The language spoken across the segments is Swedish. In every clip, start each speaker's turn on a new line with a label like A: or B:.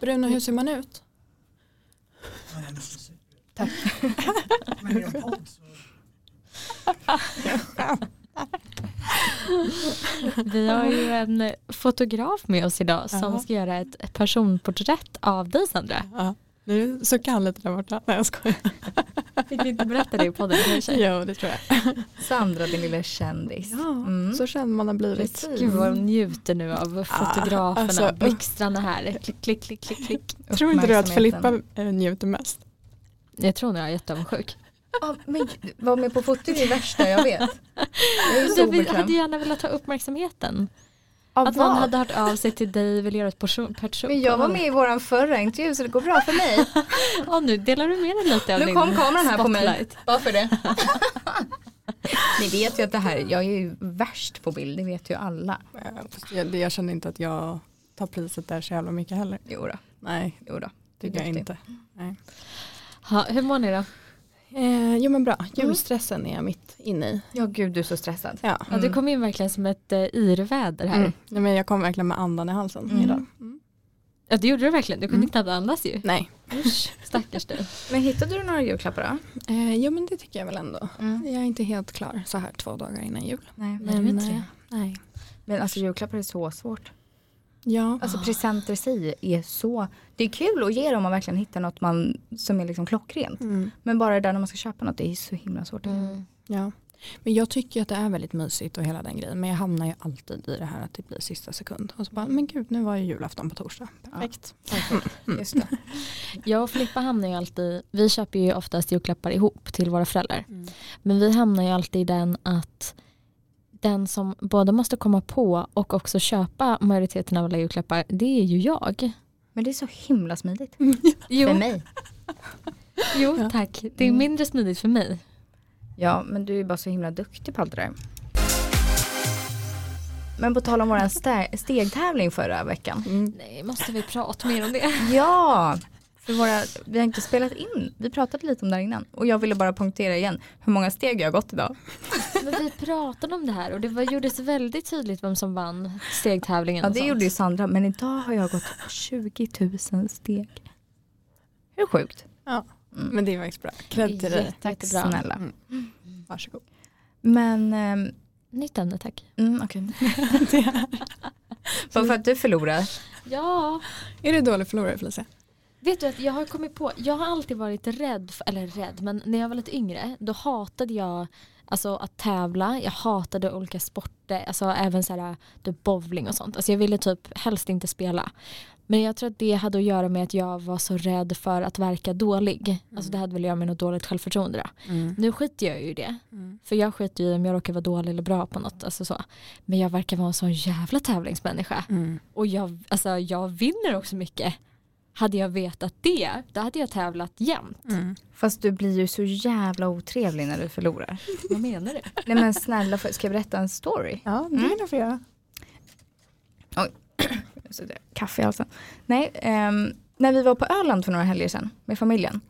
A: Bruno, hur ser man ut?
B: Tack.
C: Men i en podd så...
D: Vi har ju en fotograf med oss idag
B: Jaha.
D: som ska göra ett personporträtt av dig Sandra.
B: Ja, nu suckar han lite där borta. Nej jag skojar.
D: Fick vi inte berätta det i podden kanske?
B: Jo det tror jag.
E: Sandra, din lilla kändis.
A: Ja,
E: Mm.
A: så känd man har blivit.
E: Precis.
D: Gud vad de njuter nu
E: Ah,
D: av fotograferna,
B: alltså.
D: blixtrarna här. Klick, klick, klick, klick, klick.
B: Tror inte du att
E: Uppmärksamheten.
B: Filippa eh, njuter mest?
D: Jag tror nog jag är jätteavundsjuk.
E: Ja, men gud, vara med på foto är det värsta jag vet. Jag är så
D: Jag vill- hade
E: obekväm.
D: gärna velat ha uppmärksamheten.
E: Av
D: Att någon
E: vad?
D: hade hört av sig till dig vill göra ett person. person.
E: Men jag var med i våran förra intervju så det går bra för mig.
D: Ja, nu delar du med dig lite av
E: Nu
D: din
E: kom kameran här på mig.
D: spotlight.
E: Varför det? Ni vet ju att det här, jag är ju värst på bild, det vet ju alla.
B: Eh, fast Jag, jag känner inte att jag tar priset där så jävla mycket heller.
E: Jo då,
B: Nej,
E: jo då.
B: tycker jag
E: Duktig.
B: inte.
D: Ha, hur mår ni då?
B: Eh, jo men bra, julstressen är jag mitt inne i.
E: Ja gud du är så stressad.
B: Ja.
D: Ja, du kom in verkligen som ett eh, yrväder här.
B: Mm. Nej, men jag kom verkligen med andan i halsen
E: Mm.
B: idag.
D: Ja, det gjorde du verkligen. Du kunde
B: Mm.
D: inte andas ju.
B: Nej,
D: Usch, stackars dig.
E: Men hittade du några julklappar då?
B: eh, jo men det tycker jag väl ändå.
E: Mm.
B: Jag är inte helt klar så här två dagar innan jul.
E: Nej,
D: Nej, men inte
B: eh,
D: det.
B: nej.
E: Men alltså julklappar är så svårt.
B: Ja,
E: Alltså presenter i sig är så, det är kul att ge dem om man verkligen hittar något man, som är liksom klockrent.
B: mm.
E: Men bara det där när man ska köpa något, det är så himla svårt.
D: Mm.
B: ja. Men jag tycker ju att det är väldigt mysigt och hela den grejen. Men jag hamnar ju alltid i det här att det blir sista sekund. Och så bara, men gud nu var ju julafton på torsdag. Perfekt.
E: Just det.
D: Jag och Filippa hamnar ju alltid, vi köper ju oftast julklappar ihop till våra föräldrar. Men vi hamnar ju alltid i den att den som både måste komma på och också köpa majoriteten av alla julklappar, det är ju jag.
E: Men det är så himla smidigt.
D: Jo,
E: För mig.
D: jo tack. Det är mindre smidigt för mig.
E: Ja, men du är bara så himla duktig på allt det där. Men på tal om våran ste- stegtävling förra veckan.
B: Mm.
D: Nej, måste vi prata mer om det?
E: Ja, för våra, vi har inte spelat in. Vi pratade lite om det här innan. Och jag ville bara punktera igen hur många steg jag har gått idag.
D: Men vi pratade om det här och det var, gjordes väldigt tydligt vem som vann stegtävlingen.
E: Ja,
D: och
E: det
D: sånt.
E: gjorde ju Sandra. Men idag har jag gått 20 000 steg. Hur sjukt?
B: Men det är faktiskt bra. Kredd till dig.
E: Tack
D: Jättebra.
E: snälla.
B: Varsågod.
E: Men, ehm,
D: Nytt ämne tack.
E: mm, okej. Bara för att du förlorar.
D: Ja,
B: Är du dålig förlorare Felicia?
D: Vet du att jag har kommit på, jag har alltid varit rädd, för, eller rädd, men när jag var lite yngre då hatade jag alltså, att tävla, jag hatade olika sporter, alltså även så här, typ bowling och sånt. Alltså, jag ville typ helst inte spela. Men jag tror att det hade att göra med att jag var så rädd för att verka dålig. Alltså
B: Mm.
D: det hade väl att göra med något dåligt självförtroende då. Nu skiter jag ju i det.
B: Mm.
D: För jag skiter ju i om jag råkar vara dålig eller bra på något. Alltså så. Men jag verkar vara en sån jävla tävlingsmänniska. Och jag, alltså, jag vinner också mycket. Hade jag vetat det, då hade jag tävlat jämt.
E: Fast du blir ju så jävla otrevlig när du förlorar.
D: Vad menar du?
E: Nej men snälla, får- ska jag berätta en story?
B: Ja, det kan du få göra.
E: Så det- Kaffe i halsen. Nej, ehm, när vi var på Öland för några helger sedan med familjen.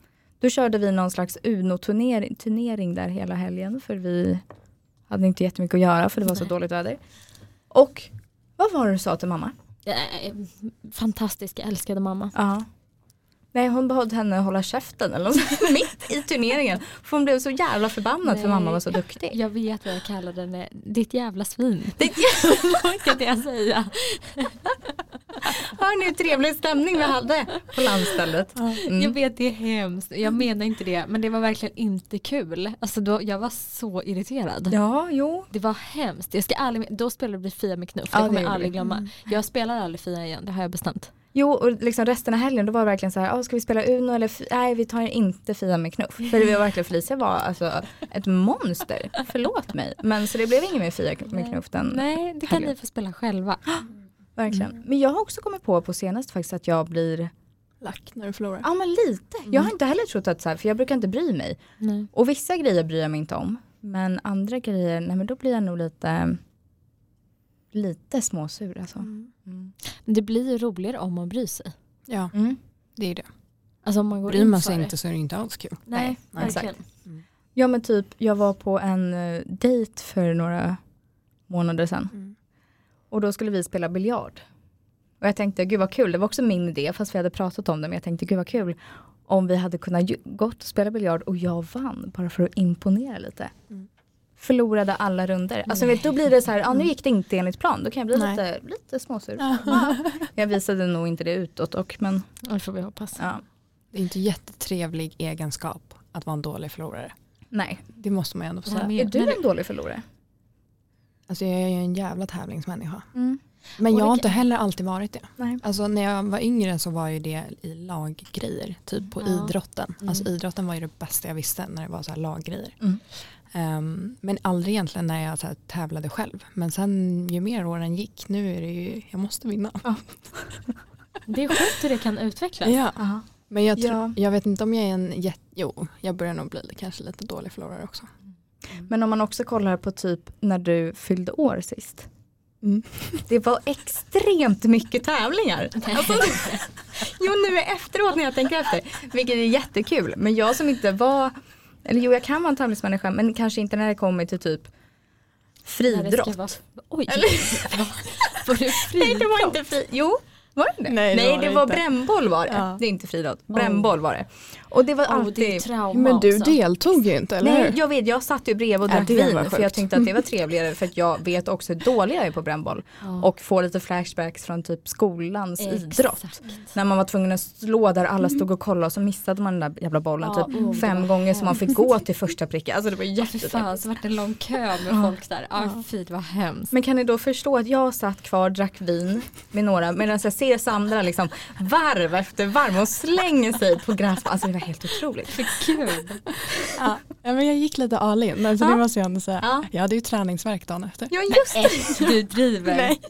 E: Då körde vi någon slags Uno-turnering turnering där hela helgen för vi hade inte jättemycket att göra för det var så
D: Nej.
E: dåligt väder. Och vad var det du sa till mamma?
D: Eh, Fantastiska, älskade mamma.
E: Ja. Nej hon behövde henne hålla käften eller något sånt, mitt i turneringen. För hon blev så jävla förbannad för
D: Nej.
E: mamma var så duktig.
D: Jag vet vad jag kallade henne, ditt jävla svin.
E: Det
D: Kan jag säga.
E: Hör ni hur trevlig stämning vi hade på landstället? Mm.
D: Jag vet det är hemskt, jag menar inte det. Men det var verkligen inte kul. Alltså då, jag var så irriterad.
E: Ja, jo.
D: Det var hemskt. Jag ska ärlig, då spelade vi Fia med knuff,
E: Ja,
D: det Mm.
E: det
D: kommer jag
E: gjorde
D: aldrig
E: vi.
D: glömma. Jag spelar aldrig Fia igen, det har jag bestämt.
E: Jo, och liksom resten av helgen då var det verkligen så här, "Ah, ska vi spela Uno eller fi- nej vi tar inte Fia med knuff. För det var verkligen, Felicia var alltså ett monster, förlåt mig. Men så det blev ingen mer Fia med knuff den,
D: Nej, det kan
E: Helgen.
D: ni få spela själva.
E: Mm. verkligen. Men jag har också kommit på på senast faktiskt att jag blir
A: lack när du förlorar.
E: Ja men lite. Jag har inte heller trott att så här, för jag brukar inte bry mig.
D: Nej.
E: Och vissa grejer bryr jag mig inte om. Men andra grejer, nej men då blir jag nog lite, lite småsur alltså. Mm.
D: Det blir ju roligare om man bryr sig.
B: Ja,
E: Mm.
B: det är det.
D: Alltså om man går
B: Bryr
D: in
B: man
D: för
B: sig
D: det.
B: inte så är det inte alls kul.
D: Nej,
B: Nej,
D: verkligen.
E: Ja men typ, jag var på en eh, dejt för några månader sedan.
B: Mm.
E: Och då skulle vi spela biljard. Och jag tänkte, gud vad kul, det var också min idé, fast vi hade pratat om det, men jag tänkte, gud vad kul om vi hade kunnat ju- gått och spela biljard och jag vann, bara för att imponera lite.
B: Mm.
E: Förlorade alla runder. Alltså vet, då blir det så här, ja nu gick det inte enligt plan, då kan jag bli
A: Nej.
E: lite, lite småsur. jag visade nog inte det utåt och men,
D: Ja, Det får vi hoppas.
E: ja,
B: Det är inte jättetrevlig egenskap att vara en dålig förlorare.
E: nej.
B: Det måste man ju ändå få
D: Nej,
B: säga.
D: men
E: Är
D: jag-
E: du
D: men-
E: en dålig förlorare?
B: Alltså jag är ju en jävla tävlingsmänniska.
E: Mm.
B: Men
D: Och
B: jag har
D: det-
B: inte heller alltid varit det.
E: Nej.
B: Alltså när jag var yngre så var ju det i laggrejer, typ på
D: Ja.
B: idrotten.
D: Mm.
B: Alltså idrotten var ju det bästa jag visste när det var så här laggrejer.
E: Mm.
B: Ehm, men aldrig egentligen när jag så här tävlade själv. Men sen ju mer åren gick, nu är det ju, jag måste vinna.
D: Det är sjukt hur det kan utvecklas.
B: Ja.
E: Ja.
B: Men jag, tror,
E: Ja.
B: jag vet inte om jag är en jätte, jo jag börjar nog bli kanske lite dålig förlorare också.
E: Men om man också kollar på typ när du fyllde år sist.
B: Mm.
E: Det var extremt mycket tävlingar. Alltså, jo nu efteråt när jag tänker efter. Vilket är jättekul. Men jag som inte var, eller jo jag kan vara en tävlingsmänniska men kanske inte när det kommer till typ
D: När det ska
E: friidrott.
D: vara- Oj,
E: Eller-
D: Va? var det
E: Nej
D: friidrott?
E: det var inte fri, jo var det det?
B: Nej, det var
E: det
B: det
E: var
B: inte.
E: brännboll var det.
B: Ja.
E: Det är inte friidrott, brännboll var det. Och det var
D: Åh, Oh, det är ju
E: alltid
D: trauma
B: Men du
D: också.
B: deltog ju inte, eller
E: Nej
B: hur?
E: jag vet, jag satt ju bredvid och
B: Ja,
E: drack
B: det var
E: vin för jag
B: sjukt.
E: tyckte att det var trevligare för att jag vet också hur dålig jag är på brännboll.
D: Ja.
E: Och får lite flashbacks från typ skolans idrott.
D: Exakt.
E: När man var tvungen att slå där alla stod och kollade och så missade man den där jävla bollen
D: Ja,
E: typ
D: oh, det
E: fem
D: var
E: gånger så man
D: hemskt.
E: fick gå till första pricken. Alltså det var
D: Ja, fy
E: jättetråkigt.
D: fan, så vart det en lång kö med folk där. Ja, fy, det var hemskt.
E: Men kan ni då förstå att jag satt kvar, drack vin med några medan jag ser Sandra liksom varv efter varv och slänger sig på gräs. Alltså det var helt otroligt.
D: För kul.
B: Ja. men jag gick lite all in, alltså,
E: Ja.
B: det måste jag ändå säga.
E: Ja.
B: Jag hade ju träningsvärk dagen efter.
E: Ja just det.
D: Ett, du driver.
E: Nej.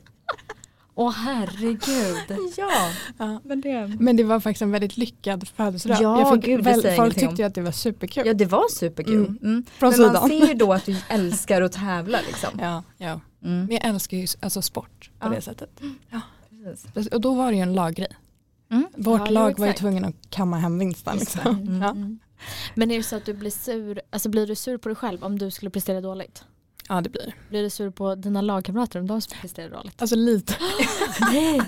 D: Åh herregud.
E: Ja.
B: Ja.
E: Men det...
B: Men det var faktiskt en väldigt lyckad födelsedag.
E: Ja,
B: jag fick
E: gud, det
B: väl-
E: säger
B: folk
E: ingenting om.
B: tyckte ju att det var superkul.
E: Ja det var superkul. Mm.
B: Mm. Från
E: Men man
B: sidan.
E: ser ju då att du älskar att tävla liksom.
B: Ja, ja.
E: Mm.
B: Men jag älskar ju alltså, sport på
E: Ja.
B: det sättet. Och då var det ju en laggrej.
E: Mm.
B: Vårt
D: Ja, jo,
B: lag var ju
D: exakt.
B: tvungen att kamma hem vinsten. Liksom.
D: Mm,
B: Ja.
D: mm. Men är det så att du blir sur, alltså blir du sur på dig själv om du skulle prestera dåligt?
B: Ja det blir
D: Blir du sur på dina lagkamrater om de presterar dåligt?
B: Alltså lite.
D: Nej!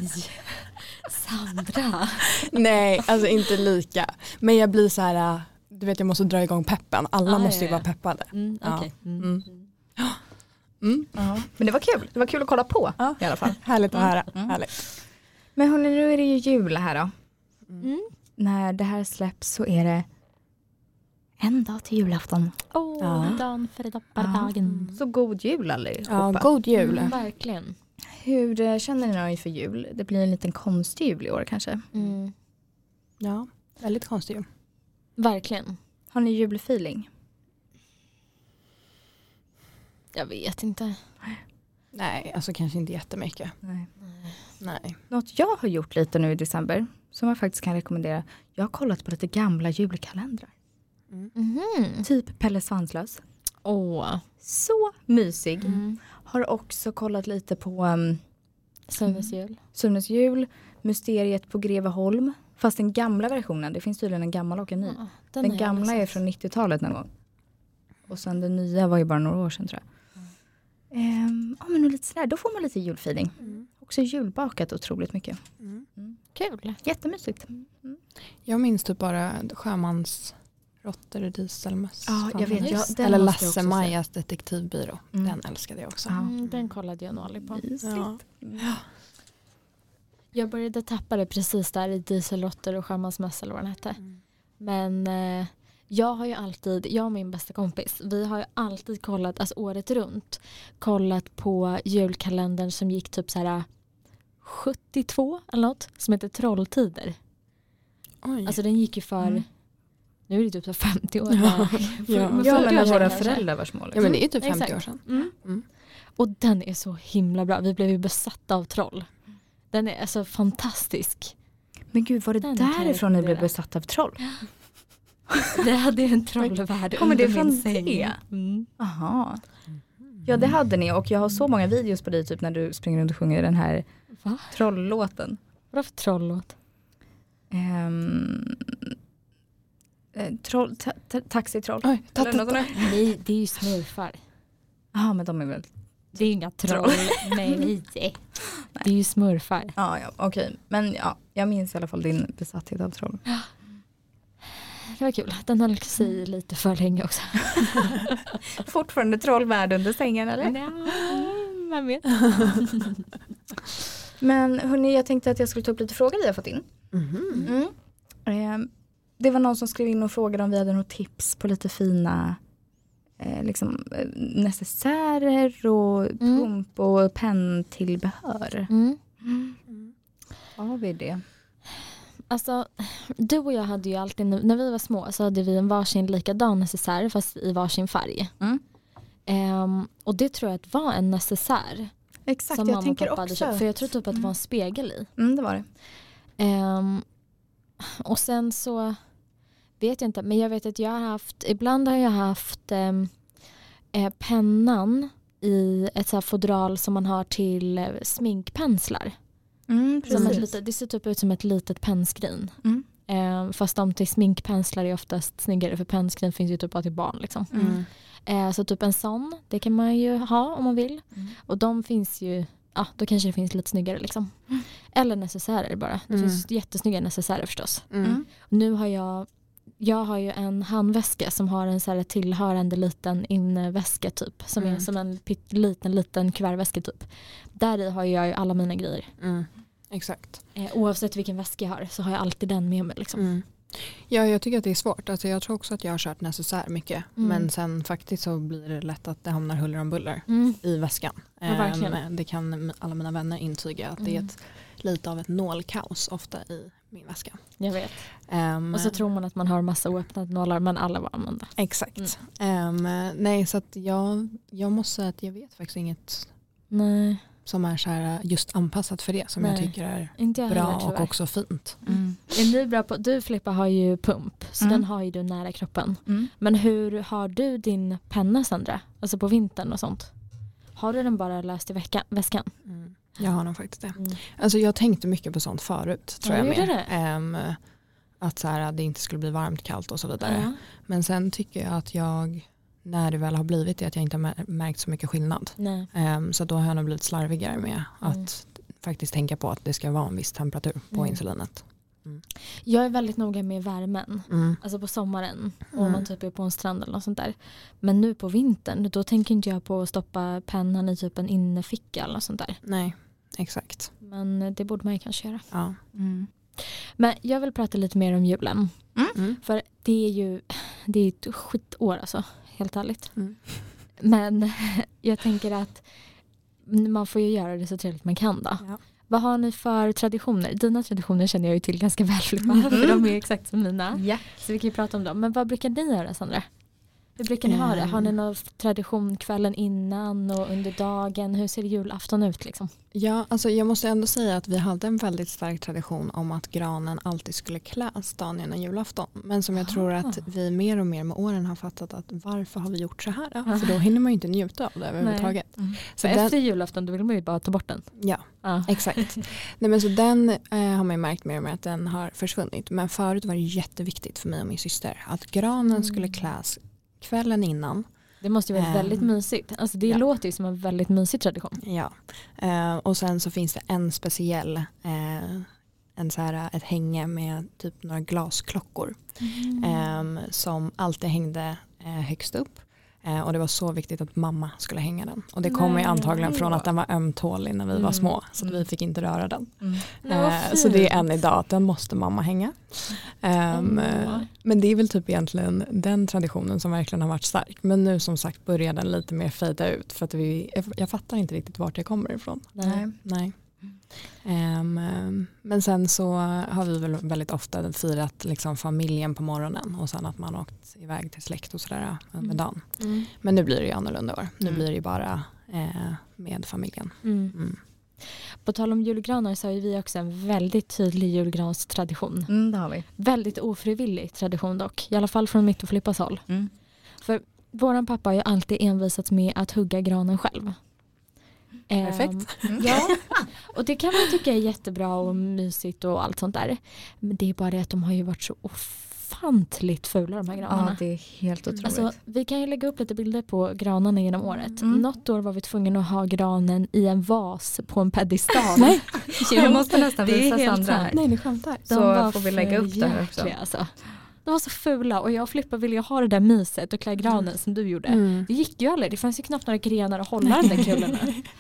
D: Sandra.
B: Nej, alltså inte lika. Men jag blir så här, äh, du vet jag måste dra igång peppen. Alla
D: Ah,
B: måste ju
D: ja, ja.
B: vara peppade.
D: Mm,
B: Ja.
D: okej. Mm.
B: Mm. Mm.
E: Ja. Men det var kul, det var kul att kolla på
B: Ja.
E: i alla fall.
B: Härligt att höra.
E: Mm.
B: Härligt.
E: Men hörni, nu är det ju jul här då.
D: Mm.
E: När det här släpps så är det en dag till julafton.
D: Åh,
B: Ja.
D: dagen före
B: Mm.
D: doppardagen.
E: Så god jul allihopa.
B: Ja, god jul.
D: Mm, verkligen.
E: Hur eh, känner ni då inför jul? Det blir en liten konstig jul i år kanske.
D: Mm.
B: Ja, väldigt konstig jul.
D: Verkligen.
E: Har ni julfeeling?
D: Jag vet inte.
B: Nej, alltså kanske inte jättemycket.
E: Nej.
B: Nej.
E: Något jag har gjort lite nu i december som jag faktiskt kan rekommendera. Jag har kollat på lite gamla julkalendrar.
D: Mhm.
E: Typ Pelle Svanslös.
D: Åh.
E: Så mysig.
D: Mm.
E: Har också kollat lite på ehm,
D: Sunes jul.
E: Sunes jul, Mysteriet på Greveholm. Fast den gamla versionen, det finns tydligen en gammal och en ny.
D: Ja,
E: Mm. den
D: har jag
E: gamla
D: aldrig
E: är
D: sett.
E: från 90-talet någon gång. Och sen den nya var ju bara några år sedan tror jag. Ehm, Ja men och lite sådär, då får man lite julfeeling.
D: Mm.
B: Mm.
E: Också julbakat otroligt mycket.
D: Kul.
E: Jättemysigt.
D: Mm.
B: Jag minns typ bara sjömansråttor och dieselmöss.
E: Ja, jag
B: Fan,
E: vet. Jag,
D: Just
E: den
B: Eller
E: måste jag också se.
B: Lasse-Majas detektivbyrå.
E: Mm.
B: Den älskade jag också.
E: Ja. Mm.
D: Mm, den kollade jag nog aldrig på.
E: Mysigt.
B: Ja.
D: Jag började tappa det precis där i Dieselrotter och Sjömansmöss eller vad den hette.
B: Mm.
D: Men eh, jag har ju alltid, jag och min bästa kompis, vi har ju alltid kollat, alltså året runt, kollat på julkalendern som gick typ så här 72 eller något, som heter Trolltider.
B: Oj.
D: Alltså den gick ju för,
E: Mm.
D: nu är det typ så 50 år.
B: Ja. Ja.
D: men
E: Ja
D: förra
E: men alltså- när
D: året
E: våra
D: kanske.
E: föräldrar var små.
B: ja,
E: Liksom.
B: men det är ju typ 50
D: exakt.
B: år sedan.
D: Mm.
B: Mm.
D: Och den är så himla bra. Vi blev ju besatta av troll. Den är alltså fantastisk.
E: Men gud var det
D: Den kan jag
E: därifrån ni blev
D: rekommendera.
E: besatta av troll?
D: Vi hade ju en trollvärld
E: Kommer det
D: under min
E: från
D: säng.
E: det?
D: Mm.
E: Jaha. Ja det hade ni och jag har så många videos på dig typ när du springer runt och sjunger den här
D: Va?
E: trolllåten.
D: Vadå för trollåt?
E: Ehm, eh, troll, ta, ta, taxitroll.
A: Oj, ta,
E: Eller något
A: ta,
E: sånt där.
D: Nej, det är ju smurfar.
E: Ja men de är väl,
D: Det är ju inga troll. Nej. Det är ju smurfar.
E: ja, ja okej. Men ja, jag minns i alla fall din besatthet av troll.
D: Det var kul. Den höll sig i lite för länge också.
E: Fortfarande trollvärld under sängen eller?
D: Nej, vem vet.
E: Men hörni jag tänkte att jag skulle ta upp lite frågor vi har fått in.
B: Mhm.
E: Mm. Ehm, det var någon som skrev in och frågade om vi hade något tips på lite fina eh, liksom, eh, necessärer och pump och penntillbehör.
D: Mm.
E: Har vi det?
D: Alltså, du och jag hade ju alltid, när vi var små så hade vi en varsin likadan necessär fast i varsin färg.
E: Mm.
D: Ehm, och det tror jag att var en necessär
E: Exakt,
D: som
E: jag
D: mamma och
E: tänker
D: pappa hade
E: också.
D: köpt. För jag tror typ att det var en spegel i.
E: Mm, det var det.
D: Ehm, och sen så vet jag inte, men jag vet att jag har haft, ibland har jag haft ehm, eh, pennan i ett så här fodral som man har till eh, sminkpenslar.
E: Mm,
D: Som ett
E: precis.
D: litet, det ser typ ut som ett litet pennskrin.
E: Mm.
D: Ehm, fast de till sminkpenslar är oftast snyggare för pennskrin finns ju typ bara till barn. Liksom.
E: Mm.
D: Ehm, så typ en sån, det kan man ju ha om man vill.
E: Mm.
D: Och de finns ju, ja då kanske det finns lite snyggare liksom.
E: Mm.
D: Eller necessärer bara. Det
B: Mm.
D: finns jättesnygga necessärer förstås.
E: Mm.
D: Nu har jag, jag har ju en handväska som har en så här tillhörande liten inneväska typ. Som är
B: Mm.
D: som en pytt- liten liten kuvertväska typ. Där i har jag ju alla mina grejer.
B: Mm. Exakt.
D: Eh, oavsett vilken väska jag har så har jag alltid den med mig liksom.
B: Mm. Ja, jag tycker att det är svårt. Alltså, jag tror också att jag har kört necessär mycket.
D: Mm.
B: Men sen faktiskt så blir det lätt att det hamnar huller om buller
D: Mm.
B: i väskan.
D: Ja, verkligen.
B: Ehm, det kan m- alla mina vänner intyga att det är
D: Mm.
B: ett, lite av ett nålkaos ofta i min väska.
D: Jag vet.
B: Ehm,
D: Och så tror man att man har massa oöppnade nålar men alla var använda. Mm.
B: Exakt. Ehm, nej, så att jag, jag måste säga att jag vet faktiskt inget
D: Nej,
B: som är så här äh, just anpassat för det som jag
D: Nej.
B: tycker är
D: inte jag
B: bra
D: heller
B: och
D: tyvärr.
B: också fint.
E: Mm.
D: Är ni bra på, du Filippa har ju pump så
E: Mm.
D: den har ju du nära kroppen.
E: Mm.
D: Men hur har du din penna Sandra? Alltså på vintern och sånt. Har du den bara löst i veckan, väskan?
B: Mm, Jag har nog faktiskt det.
D: Mm.
B: Alltså jag tänkte mycket på sånt förut tror
D: Ja,
B: jag
D: gjorde
B: mer.
D: det?
B: Ehm, att så här, att det inte skulle bli varmt, kallt och så vidare.
D: Ja.
B: Men sen tycker jag att jag, när det väl har blivit det, att jag inte har mä- märkt så mycket skillnad.
D: Nej.
B: Ehm, så då har jag nog blivit slarvigare med att
D: Mm.
B: faktiskt tänka på att det ska vara en viss temperatur på
D: Mm.
B: insulinet.
D: Jag är väldigt noga med värmen.
B: Mm.
D: Alltså på sommaren om
B: Mm.
D: man typ är på en strand eller något sånt där. Men nu på vintern då tänker inte jag på att stoppa pennan i typ en inneficka eller något sånt där.
B: Nej, exakt.
D: Men det borde man ju kanske göra.
B: Ja.
E: Mm.
D: Men jag vill prata lite mer om julen.
B: Mm.
D: För det är ju det är ett skitår alltså. Helt ärligt.
B: Mm.
D: Men jag tänker att man får ju göra det så trevligt man kan då.
B: Ja.
D: Vad har ni för traditioner? Dina traditioner känner jag ju till ganska väl Filippa. För
B: Mm.
D: de är ju exakt som mina.
E: Ja.
D: Så vi kan ju prata om dem. Men vad brukar ni göra Sandra? Hur brukar ni ha det? Har
B: Ehm.
D: ni någon tradition kvällen innan och under dagen? Hur ser julafton ut liksom?
B: Ja, alltså jag måste ändå säga att vi hade en väldigt stark tradition om att granen alltid skulle kläs dagen innan julafton. Men som jag
D: Ah.
B: tror att vi mer och mer med åren har fattat att varför har vi gjort så här? då? För då hinner man ju inte njuta av det överhuvudtaget.
E: Mm.
B: Så
D: För
B: den,
D: efter julafton då vill man ju bara ta bort den. Eh,
B: ja,
D: Ja.
B: exakt. Nej, men så den eh, har man ju märkt mer och mer att den har försvunnit. Men förut var det jätteviktigt för mig och min syster att granen
D: Mm.
B: skulle kläs kvällen innan.
D: Det måste ju vara
B: Ehm.
D: väldigt mysigt. Alltså det
B: Ja.
D: låter ju som en väldigt mysig tradition.
B: Ja, eh, och sen så finns det en speciell, eh, en så här, ett hänge med typ några glasklockor
D: Mm.
B: eh, som alltid hängde eh, högst upp. Eh, och det var så viktigt att mamma skulle hänga den. Och det kommer ju
D: Nej.
B: antagligen från att den var ömtålig när vi
D: Mm.
B: var små så att vi fick inte röra den.
E: Mm.
D: Nej, vad
B: Eh, så det är
D: fint.
B: än idag att den måste mamma hänga. Ehm,
D: Åh.
B: Men det är väl typ egentligen den traditionen som verkligen har varit stark. Men nu som sagt börjar den lite mer fejda ut för att vi, jag- jag fattar inte riktigt vart det kommer ifrån.
D: Nej.
B: Nej. Ehm, ehm, men sen så har vi väl väldigt ofta firat liksom familjen på morgonen och sen att man har åkt iväg till släkt och sådär eh, under
D: Mm.
B: dagen.
D: Mm.
B: Men nu blir det ju annorlunda i år. Nu
E: Mm.
B: blir det ju bara eh, med familjen.
D: Mm.
B: Mm.
D: På tal om julgranar så har ju vi också en väldigt tydlig julgranstradition.
E: Mm, det har vi.
D: Väldigt ofrivillig tradition dock, i alla fall från mitt och Filippas håll.
E: Mm.
D: Våran pappa har ju alltid envisats med att hugga granen själv. Ehm,
B: Perfekt.
D: Ja, och det kan man tycka är jättebra och mysigt och allt sånt där. Men det är bara det att de har ju varit så ofantligt fula de här granarna.
E: Ja, det är helt otroligt.
D: Alltså, vi kan ju lägga upp lite bilder på granarna genom året.
E: Mm.
D: Något år var vi tvungna att ha granen i en vas på en piedestal.
B: Nej.
E: jag måste nästan
D: det är
E: visa
D: helt
E: Sandra här.
B: Nej, ni skämtar.
E: Så
D: var
E: får vi lägga upp det här också.
D: förjäkliga, Alltså. De var så fula och jag och Filippa ville ju ha det där myset och klä
E: Mm.
D: granen som du gjorde.
B: Mm.
D: Det gick ju aldrig, det fanns ju knappt några grenar att hålla den där kulorna.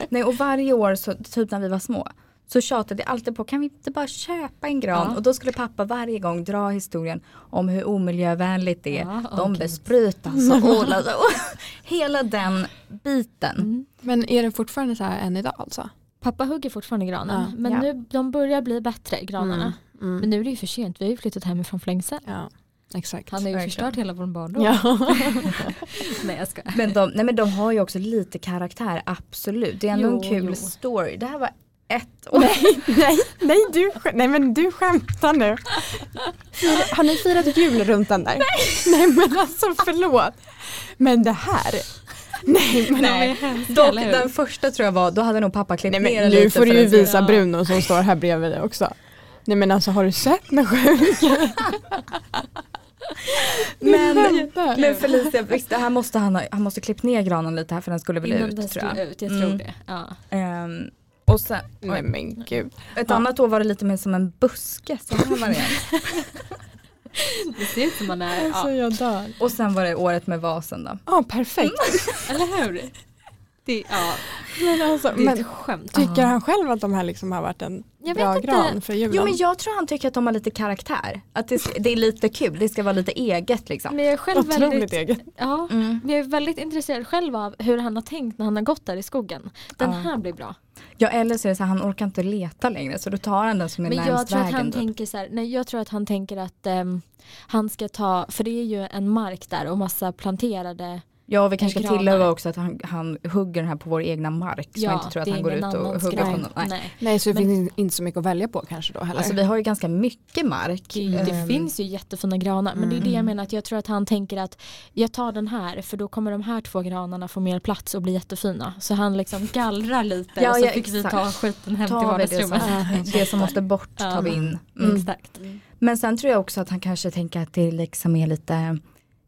E: Nej, och varje år, så, typ när vi var små, så tjatade jag alltid på kan vi inte bara köpa en gran?
D: Ja.
E: Och då skulle pappa varje gång dra historien om hur omiljövänligt det är.
D: Ja, åh,
E: De
D: gud.
E: besprutas och odlas och alltså. hela den biten.
D: Mm.
A: Men är det fortfarande så här än idag alltså?
D: Pappa hugger fortfarande granen
A: Ja.
D: men
E: Ja.
D: nu, de börjar bli bättre granarna.
B: Mm.
D: Men nu är det ju för sent, vi har ju flyttat hemifrån för länge sedan.
B: Ja, exakt.
D: Han har ju
E: Verkligen.
D: förstört hela vår barndom.
B: ja.
D: Nej jag skojar.
E: Men de, nej men de har ju också lite karaktär, absolut. Det är ändå
D: Jo,
E: en kul
D: jo.
E: story. Det här var ett år.
B: nej, nej, du, skä- nej men du skämtar nu. Fira- Har ni firat jul runt den där? Nej. nej men alltså förlåt. Men det här. Nej men,
E: Nej, Dock, den första tror jag var, då hade nog pappa klippt
B: nej,
E: ner det
B: men nu
E: lite
B: får
E: för
B: du ju
E: att se.
B: visa Bruno som står här bredvid dig också. Nej men alltså har du sett något sjukt?
E: Men, men Felicia, visst, det här måste han, ha, han måste klippt ner granen lite här för den skulle väl
D: Innan
E: ut
D: den
E: tror jag.
D: skulle ut, jag
E: Mm.
D: tror det. Ja.
E: Ehm, och sen,
B: Nej men gud.
E: ett
B: Ja.
E: annat år var det lite mer som en buske. Så här var det.
D: Det ser ut som man är, ja.
B: Alltså jag dör.
E: och sen var det året med vasen då.
B: Ja perfekt.
D: eller hur? Det, ja,
E: Mm.
B: Men alltså,
D: det är ett
B: men,
D: skämt.
B: tycker han själv att de här liksom har varit en
D: Jag
B: bra
D: vet inte.
B: gran för julen?
E: Jo men jag tror han tycker att de har lite karaktär. Att det, ska- det är lite kul, det ska vara lite eget liksom.
D: Men jag är själv
B: Otroligt
D: väldigt,
B: eget.
D: ja,
E: Mm.
D: men jag är väldigt intresserad själv av hur han har tänkt när han har gått där i skogen. Den
E: Ja.
D: här blir bra.
E: Ja eller så är det så här, han orkar inte leta längre så då tar han den som är
D: Men jag
E: närmst
D: tror, att han
E: vägen. typ.
D: tänker så här, nej, jag tror att han tänker att ehm, han ska ta, för det är ju en mark där och massa planterade
E: Ja och vi kanske ska
D: granar.
E: tillägga också att han, han hugger den här på vår egna mark. Så man
D: Ja,
E: inte tror att
D: det är
E: han går
D: ingen
E: ut och
D: annans
E: hugger
D: gran.
E: på någon. Nej.
D: Nej.
B: Nej så det finns inte så mycket att välja på kanske då heller.
E: Alltså vi har ju ganska mycket mark.
D: Det, det
E: Ehm, Mm.
D: finns ju jättefina granar men det är det jag menar att jag tror att han tänker att jag tar den här för då kommer de här två granarna få mer plats och bli jättefina. Så han liksom gallrar lite
E: Ja,
D: och så
E: ja,
D: fick
E: exakt.
D: vi ta skiten hem till
E: tar vi det som,
D: vardagsrummet.
E: det som måste bort tar vi in. Mm.
D: Exakt.
E: Men sen tror jag också att han kanske tänker att det liksom är lite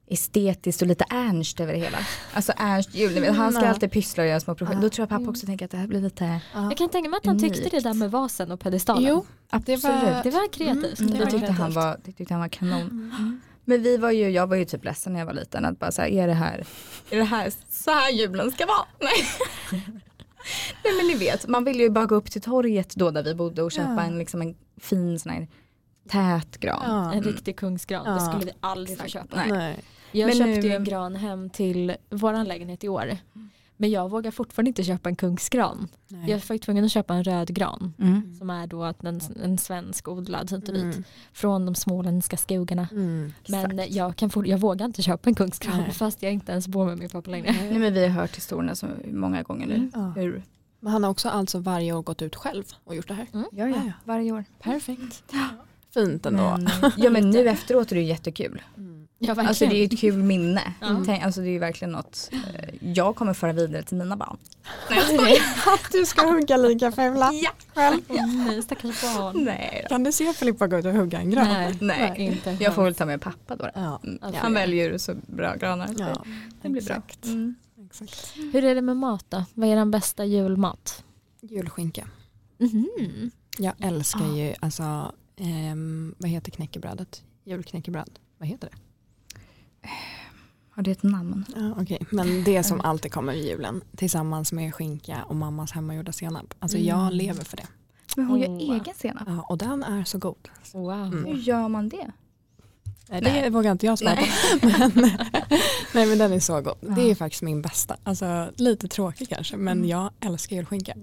E: estetiskt och lite Ernst över det hela. Alltså Ernst jul, ni vet, han ska
B: Mm.
E: alltid pyssla och göra små projekt. Då tror jag pappa också tänker att det här blir lite,
B: Alltså,
D: Jag kan tänka mig att han tyckte det där med vasen och pedestalen.
B: Jo,
E: absolut.
B: det var,
D: Det var kreativt.
E: Mm,
B: det Mm,
E: det,
B: var
E: tyckte han
B: kreativt.
E: var, det tyckte han var kanon. Men vi var ju, jag var ju typ ledsen när jag var liten att bara så här, är det här, är det här så här julen ska vara? Nej. Nej men ni vet, man ville ju bara gå upp till torget då där vi bodde och köpa
B: Ja.
E: en, liksom en fin sån här tät gran.
B: ja.
D: En riktig kungsgran,
B: Ja.
D: det skulle vi aldrig få
E: Mm. Exakt.
D: köpa.
E: Nej.
B: Nej.
D: Jag
E: Men
D: köpte
E: nu- Mm.
D: ju en gran hem till vår lägenhet i år. Men jag vågar fortfarande inte köpa en kungsgran.
B: Nej.
D: Jag var ju tvungen att köpa en röd gran.
E: Mm.
D: Som är då att en, en svensk odlad hit och dit.
B: Mm.
D: Från de småländska skogarna.
B: Mm.
D: Men jag, kan for, jag vågar inte köpa en kungsgran
B: Nej.
D: fast jag inte ens bor med min pappa längre.
E: Nej men vi har hört historierna så många gånger nu.
B: Ja.
E: Hur?
B: Men han har också alltså varje år gått ut själv och gjort det här.
E: Ja,
B: ja.
E: varje år.
B: Perfekt. Fint ändå.
E: Men, eh, ja men nu efteråt är det ju jättekul.
B: Mm.
D: Ja, verkligen.
E: Alltså det är ju ett kul minne.
D: Ja.
E: Tänk, alltså det är ju verkligen något eh, jag kommer föra vidare till mina barn.
B: Att du ska hugga lika fula.
E: Ja.
B: själv.
D: Åh, nej, stackars barn.
E: Nej då.
B: Kan du se Filippa gå ut och hugga en gran?
D: Nej,
E: Nej.
D: inte en
E: Jag får
D: chans.
E: väl ta med pappa då. då.
B: Ja.
D: Alltså,
E: Han väljer ju så bra granar. så
B: ja.
E: Det blir bra.
B: Exakt.
E: Mm.
B: Exakt.
D: Hur är det med mat då? Vad är den bästa julmat?
B: Julskinka.
E: Mm.
D: Mhm.
B: Jag älskar
D: Ah.
B: ju, alltså, ehm, vad heter knäckebrödet? Julknäckebröd. Vad heter det?
E: Har det ett namn?
B: Ja, Okej, men det som alltid kommer vid julen tillsammans med skinka och mammas hemmagjorda senap. Alltså jag
E: Mm.
B: lever för det.
E: Men hon gör
D: Oh.
E: egen senap.
B: Mm. Ja, och den är så god.
D: Wow.
B: Mm.
E: Hur gör man det?
B: Nej,
E: Nej.
B: det vågar inte jag svara på. Men, nej men den är så god. Det är faktiskt min bästa. Alltså lite tråkig kanske men
E: Mm.
B: jag älskar julskinka.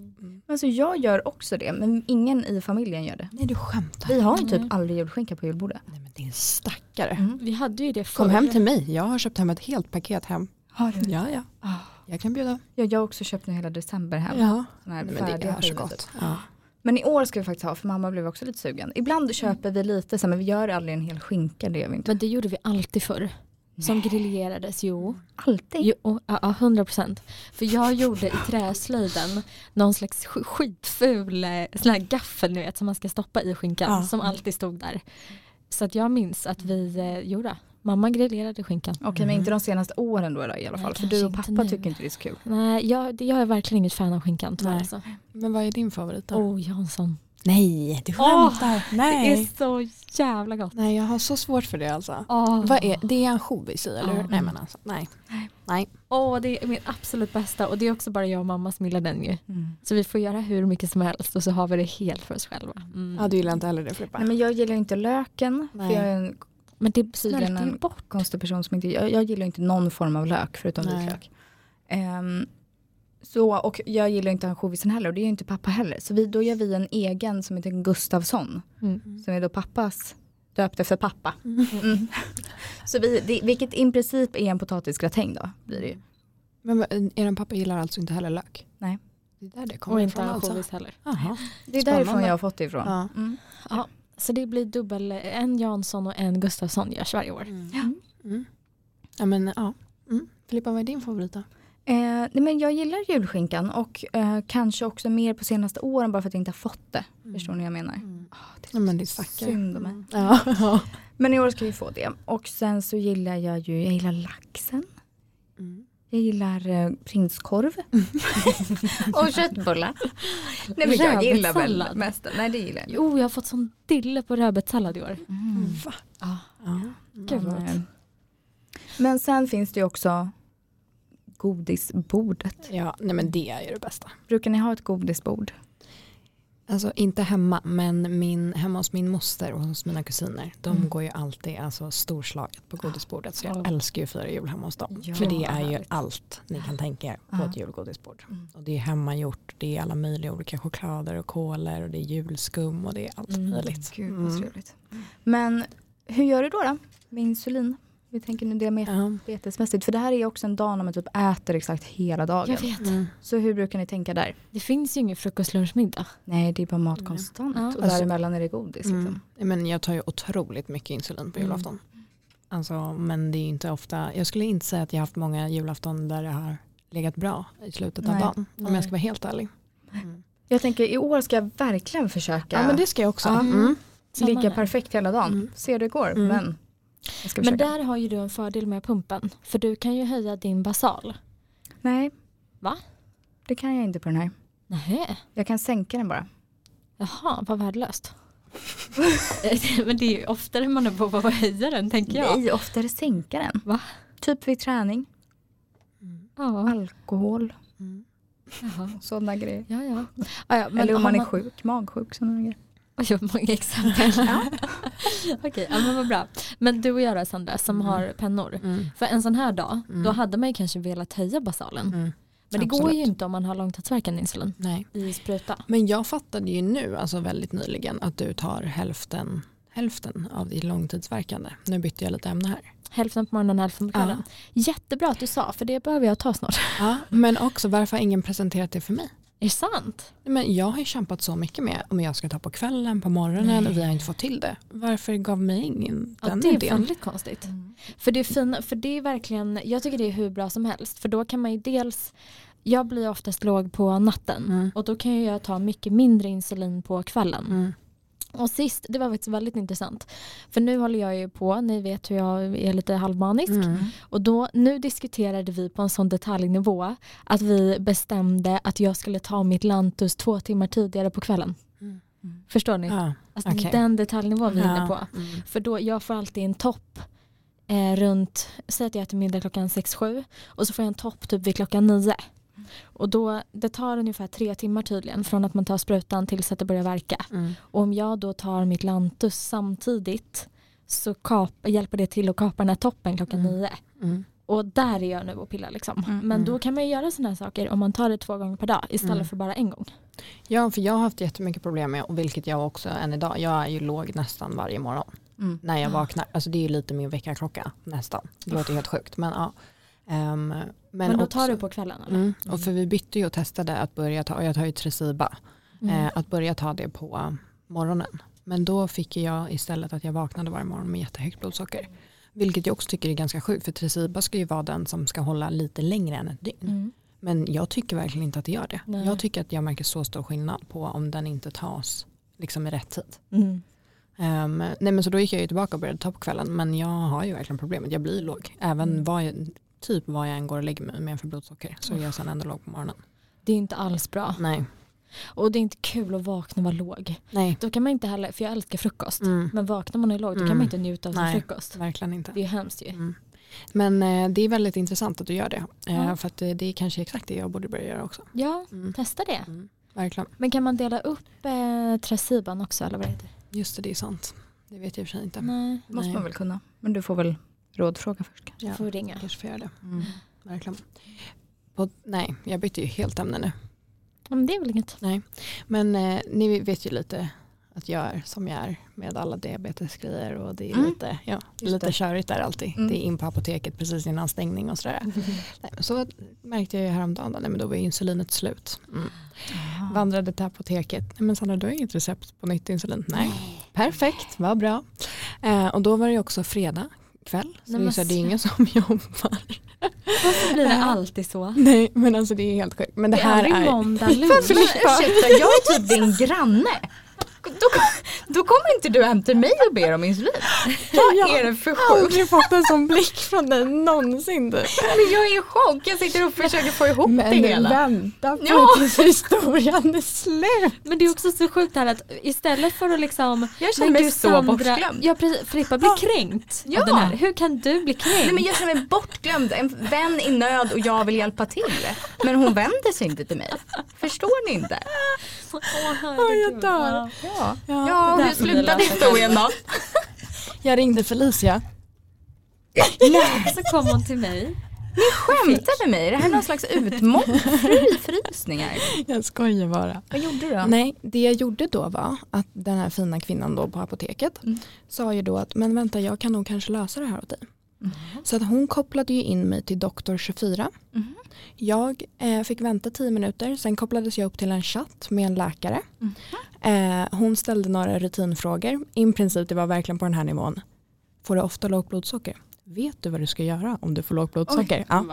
E: Alltså jag gör också det men ingen i familjen gör det.
B: Nej du skämtar.
E: Vi har ju
D: Nej.
E: typ aldrig julskinka på julbordet.
B: Nej men din stackare.
E: Mm.
D: Vi hade ju det förr.
B: Kom hem till mig. Jag har köpt hem ett helt paket hem.
E: Har du?
B: Ja ja.
E: Ah.
B: Jag kan bjuda.
E: Ja, jag har också köpt nu hela december hem.
B: Ja.
E: Såna här
B: Nej, men det
E: färdiga
B: är så
E: skivor,
B: gott.
E: typ.
B: Ja.
E: Men i år ska vi faktiskt ha, för mamma blev också lite sugen.
B: Mm.
E: Ibland köper vi lite, så här, men vi gör aldrig en hel skinka. Det gör vi inte.
D: Men det gjorde vi alltid förr. Som grillerades, jo.
E: Alltid.
D: Jo, och- ja, ja, 100 procent. För jag gjorde i träslöjden någon slags sk- skitful eh, sån här gaffel ni vet som man ska stoppa i skinkan
B: Ja.
D: som alltid stod där. Så att jag minns att vi eh, gjorde. Mamma grillerade skinkan.
E: Okej, men
B: Mm.
E: inte de senaste åren då, då i alla
D: Nej,
E: fall. för
D: kanske
E: du och
D: inte
E: pappa
D: nu.
E: tycker inte det är så kul.
B: Mm.
D: Nej, jag, det- jag är verkligen inget fan av skinkan tyvärr.
B: Nej.
D: Alltså.
B: Men vad är din favorit då?
D: Oh, Jansson.
B: Nej, du
D: skämtar.
B: Nej.
D: Det är så jävla gott.
B: Nej, jag har så svårt för det alltså.
D: Åh,
B: Vad är, det är ansjovis i, eller hur?
D: Ja.
B: Nej men alltså, nej.
D: åh, det är min absolut bästa och det är också bara jag och mamma som gillar den ju.
E: Mm.
D: Så vi får göra hur mycket som helst och så har vi det helt för oss själva. Mm.
B: Ja, du gillar inte heller det Filippa?
E: Nej, men jag gillar inte löken.
B: Nej.
E: För jag är en
D: Men det
E: tydligen
D: smälter ju
E: en-
D: bort.
E: konstig person som inte, jag, jag gillar inte någon form av lök förutom
B: Nej.
E: vitlök. Ehm, så, och jag gillar inte ansjovisen heller och det gör inte pappa heller. Så vi, då gör vi en egen som heter Gustavsson.
D: Mm.
E: Som är då pappas, döpt efter pappa. Mm. så vi, det, vilket i princip är en potatisgratäng då. Blir det ju.
B: Men vad- er pappa gillar alltså inte heller lök?
E: Nej.
B: Det är där det
D: Och
B: kommer
D: inte
B: ifrån alltså?
D: ansjovis heller.
B: Jaha.
E: Det är
B: Spännande.
E: därifrån jag har fått det ifrån.
B: Ja.
E: Mm.
D: Så det blir dubbel, en Jansson och en Gustafsson görs varje år.
B: Mm. Mm. Ja men ja. Mm. Filippa, vad är din favorit då?
E: Eh, nej men jag gillar julskinkan och eh, kanske också mer på senaste åren bara för att jag inte har fått det. Förstår ni vad jag menar?
B: Mm.
E: Ah, det är
B: Ja men det är
E: så
B: stackare.
E: synd om mig.
B: Ja. ja.
E: Men i år ska vi få det. Och sen så gillar jag ju, jag gillar laxen.
B: Mm.
E: Jag gillar eh, prinskorv. och köttbullar. Nej men jag gillar väl
D: Rödbetssallad.
E: mest. Nej det gillar jag.
D: Jo, jag har fått sån dille på rödbetssallad i år.
E: Mm.
B: Va?
D: Ja.
B: Ja.
D: Gud vad
E: Men, eh, men sen finns det ju också godisbordet.
B: ja, nej men det är ju det bästa.
E: Brukar ni ha ett godisbord?
B: Alltså inte hemma, men min, hemma hos min moster och hos mina kusiner. De
E: Mm.
B: går ju alltid alltså, storslaget på godisbordet. Så jag
D: Ja.
B: älskar ju att fira jul hemma hos dem.
E: Ja,
B: För det
E: vad
B: är ju
D: härligt.
B: allt ni kan tänka er på
E: Ja.
B: ett julgodisbord.
E: Mm.
B: Och det är hemmagjort, det är alla möjliga olika choklader och kolor och det är julskum och det är allt
D: Mm.
B: möjligt.
E: Gud vad
B: Mm.
E: trevligt. Men hur gör du då, då med insulin? Vi tänker nu diabetes-
B: Ja.
E: diabetesmässigt. För det här är ju också en dag när man typ äter exakt hela dagen.
D: Jag vet.
B: Mm.
E: Så hur brukar ni tänka där?
D: Det finns ju ingen frukost, lunch, middag.
E: Nej, det är bara mat konstant. Och
D: Ja.
B: Alltså-
E: däremellan är det godis.
B: Mm.
E: Liksom.
B: Men jag tar ju otroligt mycket insulin på
E: Mm.
B: julafton. Alltså, men det är ju inte ofta, jag skulle inte säga att jag haft många julafton där det har legat bra i slutet
E: Nej.
B: av dagen. Om
D: Nej.
B: jag ska vara helt ärlig.
E: Jag tänker i år ska jag verkligen försöka
B: Ja men det ska jag också.
E: Ja.
B: Mm.
D: Samma
E: ligga
D: här.
E: perfekt hela dagen.
B: Mm.
E: Se hur det går.
B: Mm.
E: Men jag ska
D: Men
E: försöka.
D: där har ju du en fördel med pumpen. För du kan ju höja din basal.
E: Nej.
D: Va?
E: Det kan jag inte på den här.
D: Nej.
E: Jag kan sänka den bara.
D: Jaha, vad värdelöst. Eh, Men det är ju oftare man är på att höja den tänker jag.
E: Nej, oftare sänka den.
D: Va?
E: Typ vid träning,
D: Ja,
E: alkohol,
B: Mm.
D: jaha.
E: sådana grejer.
D: ja. ja. Ah, ja men
E: Eller om
D: har
E: man är sjuk, magsjuk. Sådana grejer.
D: Oj, vad många exempel. Okej, ja, men vad bra. Men du och jag då Sandra som
B: Mm.
D: har pennor.
B: Mm.
D: För en sån här dag,
B: Mm.
D: då hade man ju kanske velat höja basalen.
B: Mm.
D: Men det går
B: Absolut.
D: ju inte om man har långtidsverkande insulin
B: Nej.
D: i spruta.
B: Men jag fattade ju nu, alltså väldigt nyligen, att du tar hälften, hälften av ditt långtidsverkande. Nu bytte jag lite ämne här.
D: Hälften på morgonen, hälften på kvällen. Jättebra att du sa, för det behöver jag ta snart.
B: Ja, men också, varför har ingen presenterat det för mig?
D: Är det sant?
B: Nej, Men jag har ju kämpat så mycket med om jag ska ta på kvällen, på morgonen och vi har inte fått till det. Varför gav mig ingen
D: Ja,
B: den
D: det är
B: idén?
D: väldigt konstigt. För det är fina, för det är verkligen, jag tycker det är hur bra som helst. För då kan man ju dels, jag blir oftast låg på natten.
B: Mm.
D: Och då kan ju jag ta mycket mindre insulin på kvällen.
B: Mm.
D: Och sist, det var faktiskt väldigt intressant. För nu håller jag ju på, ni vet hur jag är lite halvmanisk.
B: Mm.
D: Och då, nu diskuterade vi på en sån detaljnivå att vi bestämde att jag skulle ta mitt Lantus två timmar tidigare på kvällen.
B: Mm.
E: Mm.
D: Förstår ni?
B: Ja.
D: alltså,
B: okej.
D: Den detaljnivån vi är
B: Ja.
D: inne på.
B: Mm.
D: För då, jag får alltid en topp eh, runt, säg att jag äter middag klockan 6-7 och så får jag en topp typ vid klockan 9. Och då, det tar ungefär tre timmar tydligen från att man tar sprutan tills att det börjar verka.
B: Mm.
D: Och om jag då tar mitt Lantus samtidigt så kap, hjälper det till att kapa den här toppen klockan
B: Mm.
D: nio.
B: Mm.
D: Och där är jag nu och pillar liksom.
E: Mm,
D: Men
B: mm.
D: då kan man ju göra sådana här saker om man tar det två gånger per dag istället
B: Mm.
D: för bara en gång.
B: Ja, för jag har haft jättemycket problem med, och vilket jag också än idag, jag är ju låg nästan varje morgon
E: Mm.
D: Ah.
B: när jag vaknar. Alltså det är ju lite min väckarklocka nästan. Det låter helt sjukt, men ja. Ehm,
D: Men, då
B: också-
D: tar du på kvällen eller?
B: Mm. Och för vi bytte ju och testade att börja ta, och jag tar ju Tresiba,
D: Mm.
B: eh, att börja ta det på morgonen. Men då fick ju jag istället att jag vaknade varje morgon med jättehögt blodsocker. Vilket jag också tycker är ganska sjukt för Tresiba ska ju vara den som ska hålla lite längre än ett dygn.
E: Mm.
B: Men jag tycker verkligen inte att det gör det.
D: Nej.
B: Jag tycker att jag märker så stor skillnad på om den inte tas liksom i rätt tid.
D: Mm.
B: Ehm, nej men så då gick jag ju tillbaka och började ta på kvällen men jag har ju verkligen problemet, jag blir låg. Även
D: Mm.
B: vad jag, typ vad jag än går och lägger mig med för blodsocker så är jag sen ändå låg på morgonen.
D: Det är inte alls bra.
B: Nej.
D: Och det är inte kul att vakna och vara låg.
B: Nej.
D: Då kan man inte heller, för jag älskar frukost.
B: Mm.
D: Men vaknar man och är låg då kan
B: Mm.
D: man inte njuta av sin
B: Nej.
D: frukost.
B: Verkligen inte.
D: Det är hemskt ju.
B: Mm. Men eh, det är väldigt intressant att du gör det. Eh,
D: Ja.
B: För att det, det är kanske exakt det jag borde börja göra också.
D: Ja,
B: Mm.
D: testa det.
B: Mm. Verkligen.
D: Men kan man dela upp eh, Tresiban också eller vad det heter?
B: Just det, det är sant. Det vet jag i och för sig inte.
D: Nej,
E: måste
B: Nej.
E: man väl kunna. Men du får väl rådfråga först kanske.
D: du
B: Ja.
D: får ringa.
B: kanske får göra det.
E: Mm.
B: Verkligen. På, nej, jag bytte ju helt ämne nu.
D: Ja, Men det är väl inget.
B: Men eh, ni vet ju lite att jag är som jag är med alla diabetesgrejer och det är
E: Mm.
B: lite, ja,
E: Just
B: lite
E: det.
B: körigt där alltid.
E: Mm.
B: Det är in på apoteket precis innan stängning och sådär. Nej, men så märkte jag ju häromdagen, nej, men då var ju insulinet slut. Mm. Vandrade till apoteket, nej, men Sandra du har inget recept på nytt insulin? Nej. Perfekt, vad bra. Eh, och då var det ju också fredag kväll, så
D: Nej,
B: det, är
D: men
B: så här, det är ingen som jobbar.
D: Varför blir det alltid så?
B: Nej men alltså det är helt sjukt. Men det,
D: det är
B: här
D: aldrig
B: är...
D: måndag
E: Men
D: lunch.
E: ursäkta, jag är typ din granne. Då, då kommer inte du hem till mig och ber om insulin. Vad är det för
B: Jag har
E: chock?
B: aldrig fått en sån blick från dig någonsin. Du.
E: Men jag är i chock. Jag sitter och försöker få ihop det hela.
B: vänta på
E: Ja.
B: tills historien är slut.
D: Men det är också så sjukt här att istället för att liksom
E: Jag känner mig så bortglömd.
D: Ja precis, Filippa blir kränkt
E: Ja.
D: av den här. Hur kan du
E: Nej,
D: bli kränkt?
E: men jag känner mig bortglömd. En vän i nöd och jag vill hjälpa till. Men hon vänder sig inte till mig. Förstår ni inte?
D: Åh,
B: Åh,
D: herregud.
B: jag dör.
E: Ja,
B: Ja,
E: ja
D: det där
E: hur
D: får vi
E: slutade
D: lösa
E: historien då?
B: Jag ringde Felicia.
D: Ja. Så kom hon till mig.
E: Skämtar med mig? Är Det här är någon slags utmobbning?
B: Jag skojar bara.
E: Vad gjorde du då?
B: Nej, det jag gjorde då var att den här fina kvinnan då på apoteket
E: Mm.
B: sa ju då att men vänta jag kan nog kanske lösa det här åt dig. Så att hon kopplade ju in mig till doktor 24.
E: Mhm.
B: Jag eh, fick vänta 10 minuter, sen kopplades jag upp till en chatt med en läkare.
E: Mhm.
B: Eh, hon ställde några rutinfrågor. I princip det var verkligen på den här nivån. Får du ofta lågt blodsocker? Vet du vad du ska göra om du får lågt blodsocker? ja.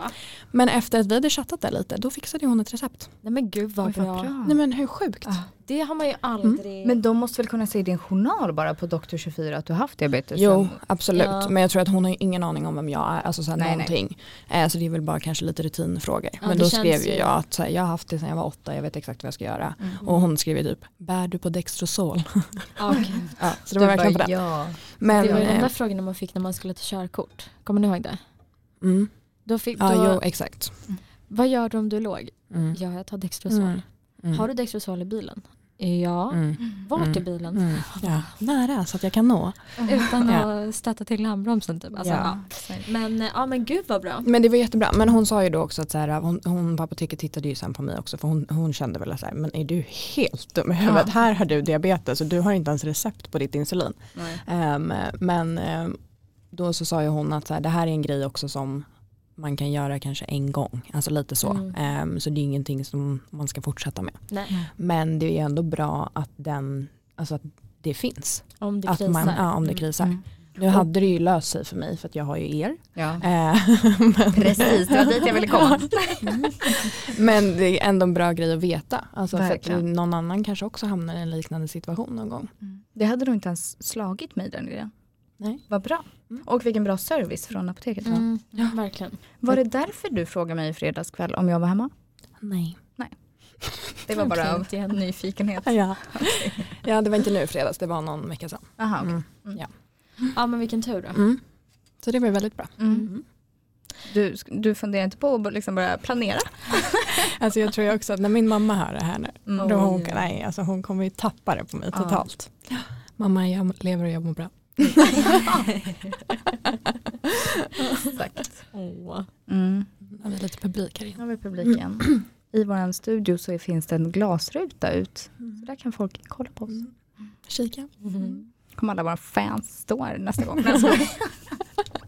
B: Men efter att vi hade chattat där lite, då fixade hon ett recept.
D: Nej men gud vad
E: Oj,
D: bra.
B: Nej men hur sjukt?
E: Ah.
D: Det har man ju aldrig.
E: Men de måste väl kunna se i din journal bara på doktor 24 att du har haft diabetes?
B: Jo, absolut.
D: Ja.
B: Men jag tror att hon har ju ingen aning om vem jag är. Alltså såhär
E: Nej, nej.
B: någonting. Eh, så det är väl bara kanske lite rutinfrågor.
D: Ja,
B: men
D: det
B: då
D: känns
B: skrev ju
D: ju-
B: jag att såhär, jag har haft det sedan jag var åtta, jag vet exakt vad jag ska göra.
E: Mm.
B: Och hon skrev ju typ, bär du på Dextrosol?
D: Ja, gud.
B: ja, så det var verkligen på det.
E: Ja.
B: Men,
D: Det var ju de
B: eh,
D: där frågorna man fick när man skulle ta körkort. Kommer ni ihåg det?
B: mm.
D: Då fick, då,
B: Ja, jo, exakt.
D: Vad gör du om du är låg?
B: Mm.
D: Ja, jag tar Dextrosol.
B: Mm. Mm.
D: Har du Dextrosol i bilen? Ja.
B: Mm.
D: Vart i
B: Mm.
D: bilen?
B: Mm. Ja. Nära så att jag kan nå.
D: Utan
B: Ja.
D: att stöta till handbromsen typ. Alltså, ja.
B: Ja.
D: Men, eh, ja, men gud vad bra.
B: Men det var jättebra. Men hon sa ju då också att så här, hon, hon på apoteket tittade ju sen på mig också för hon, hon kände väl så här, men är du helt dum i huvudet?
E: Ja.
B: Här har du diabetes och du har inte ens recept på ditt insulin. Ehm, men ehm, då så sa ju hon att så här, det här är en grej också som man kan göra kanske en gång, alltså lite så.
D: Mm.
B: Ehm, så det är ingenting som man ska fortsätta med.
D: Nej.
B: Men det är ändå bra att, den, alltså att det finns.
D: Om det
B: att
D: krisar. Mm.
B: Man, ja, om det krisar. Nu hade det ju löst sig för mig för att jag har ju er.
E: Mm. Ja.
B: Ehm,
E: Precis, det var dit jag ville komma.
B: Men det är ändå en bra grej att veta. Alltså för att
E: Verkligen.
B: någon annan kanske också hamnar i en liknande situation någon gång.
E: Det hade nog inte ens slagit mig den idén.
B: Nej.
E: Vad bra.
B: Mm.
E: Och vilken bra service från apoteket.
D: Mm, Verkligen.
E: Var det därför du frågade mig i fredagskväll om jag var hemma?
B: Nej.
E: Det var bara av
D: Klint igen.
E: nyfikenhet.
B: Ja. ja, det var inte nu i fredags, det var någon vecka sedan.
E: Aha, okej.
B: Mm.
D: Ja men vilken tur då.
B: Mm. Så det var ju väldigt bra.
E: mm. Du, du funderar inte på att liksom börja planera?
B: Alltså jag tror ju också att när min mamma hör det här nu,
E: Mm.
B: då hon, nej, alltså hon kommer ju tappa det på mig
E: Ja.
B: totalt. Mamma, jag lever och jag mår bra.
E: Exakt.
D: Åh.
E: Mm.
B: Nu har vi lite publik här inne.
E: Nu har vi publiken. I vår studio så finns det en glasruta ut. Så där kan folk kolla på oss.
B: Mm. Kika.
D: Mm.
E: kommer alla våra fans stå här nästa gång. Nej, jag skojar.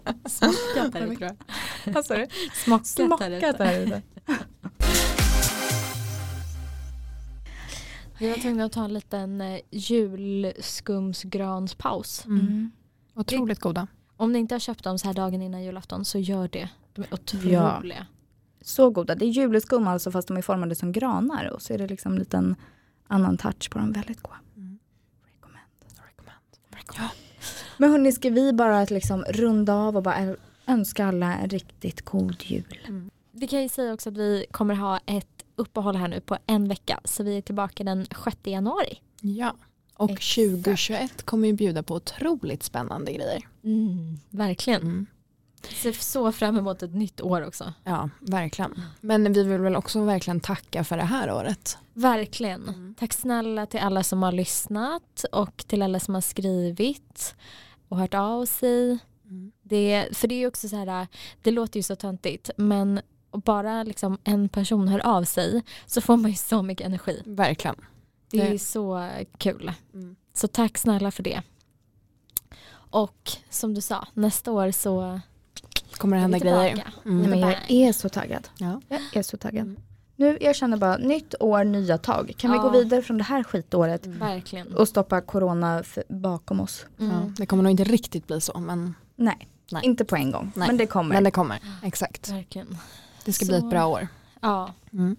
B: Mm.
D: Skrattar du, tror jag.
E: Vad sa du?
D: Smockat,
E: Smockat där ute.
D: Vi var tvungna att ta en liten eh, julskumsgranspaus.
A: Mm. Otroligt goda.
D: Om ni inte har köpt dem så här dagen innan julafton så gör det. De är
E: Ja.
D: otroliga.
E: Så goda. Det är juleskum alltså fast de är formade som granar och så är det liksom en liten annan touch på dem. Väldigt goda.
B: Mm.
E: Recommend.
B: Ja.
E: Men hörni, ska vi bara liksom runda av och bara önska alla en riktigt god jul?
D: Vi kan ju säga också att vi kommer ha ett uppehåll här nu på en vecka. Så vi är tillbaka den 6 januari.
B: ja. Och
E: Exakt.
B: 2021 kommer ju bjuda på otroligt spännande grejer.
D: verkligen.
B: Mm.
D: Ser så fram emot ett nytt år också.
B: Ja, verkligen. Men vi vill väl också verkligen tacka för det här året.
D: Verkligen.
E: Mm.
D: Tack snälla till alla som har lyssnat och till alla som har skrivit och hört av sig. Det, för det är ju också så här, det låter ju så töntigt men bara liksom en person hör av sig så får man ju så mycket energi.
B: Verkligen.
D: Det, är
B: Det-
D: ju så kul.
B: Mm.
D: Så tack snälla för det. Och som du sa, nästa år så
B: Kommer det hända
D: är vi tillbaka.
E: Nej,
B: grejer? Mm.
E: men jag är så taggad.
B: Ja.
E: Jag är så taggad.
B: Mm.
E: Nu, jag känner bara, nytt år, nya tag. Kan vi
D: Ja. Mm.
E: gå vidare från det här skitåret
D: Verkligen.
E: och stoppa corona f- bakom oss?
B: Ja,
D: Mm.
B: det kommer nog inte riktigt bli så, men,
E: Nej,
B: Nej.
E: inte på en gång.
B: Nej.
E: Men det kommer.
B: men det kommer. Exakt.
D: Verkligen.
B: Det ska
D: Så-
B: bli ett bra år.
D: Ja.
B: Mm.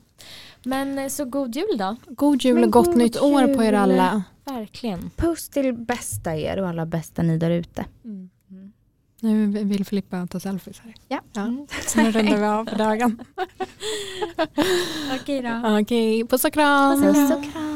D: Men eh, så god jul då.
B: God jul
E: Men
B: och gott
E: god
B: nytt år på er
E: jul.
B: alla.
D: Verkligen.
E: Puss till bästa er och alla bästa ni där ute. Mm.
B: Nu vill Filippa ta selfies här.
E: Ja.
B: ja. Så nu rundar vi av för dagen.
D: Okej då.
B: Okej, puss och kram.
E: Puss och kram.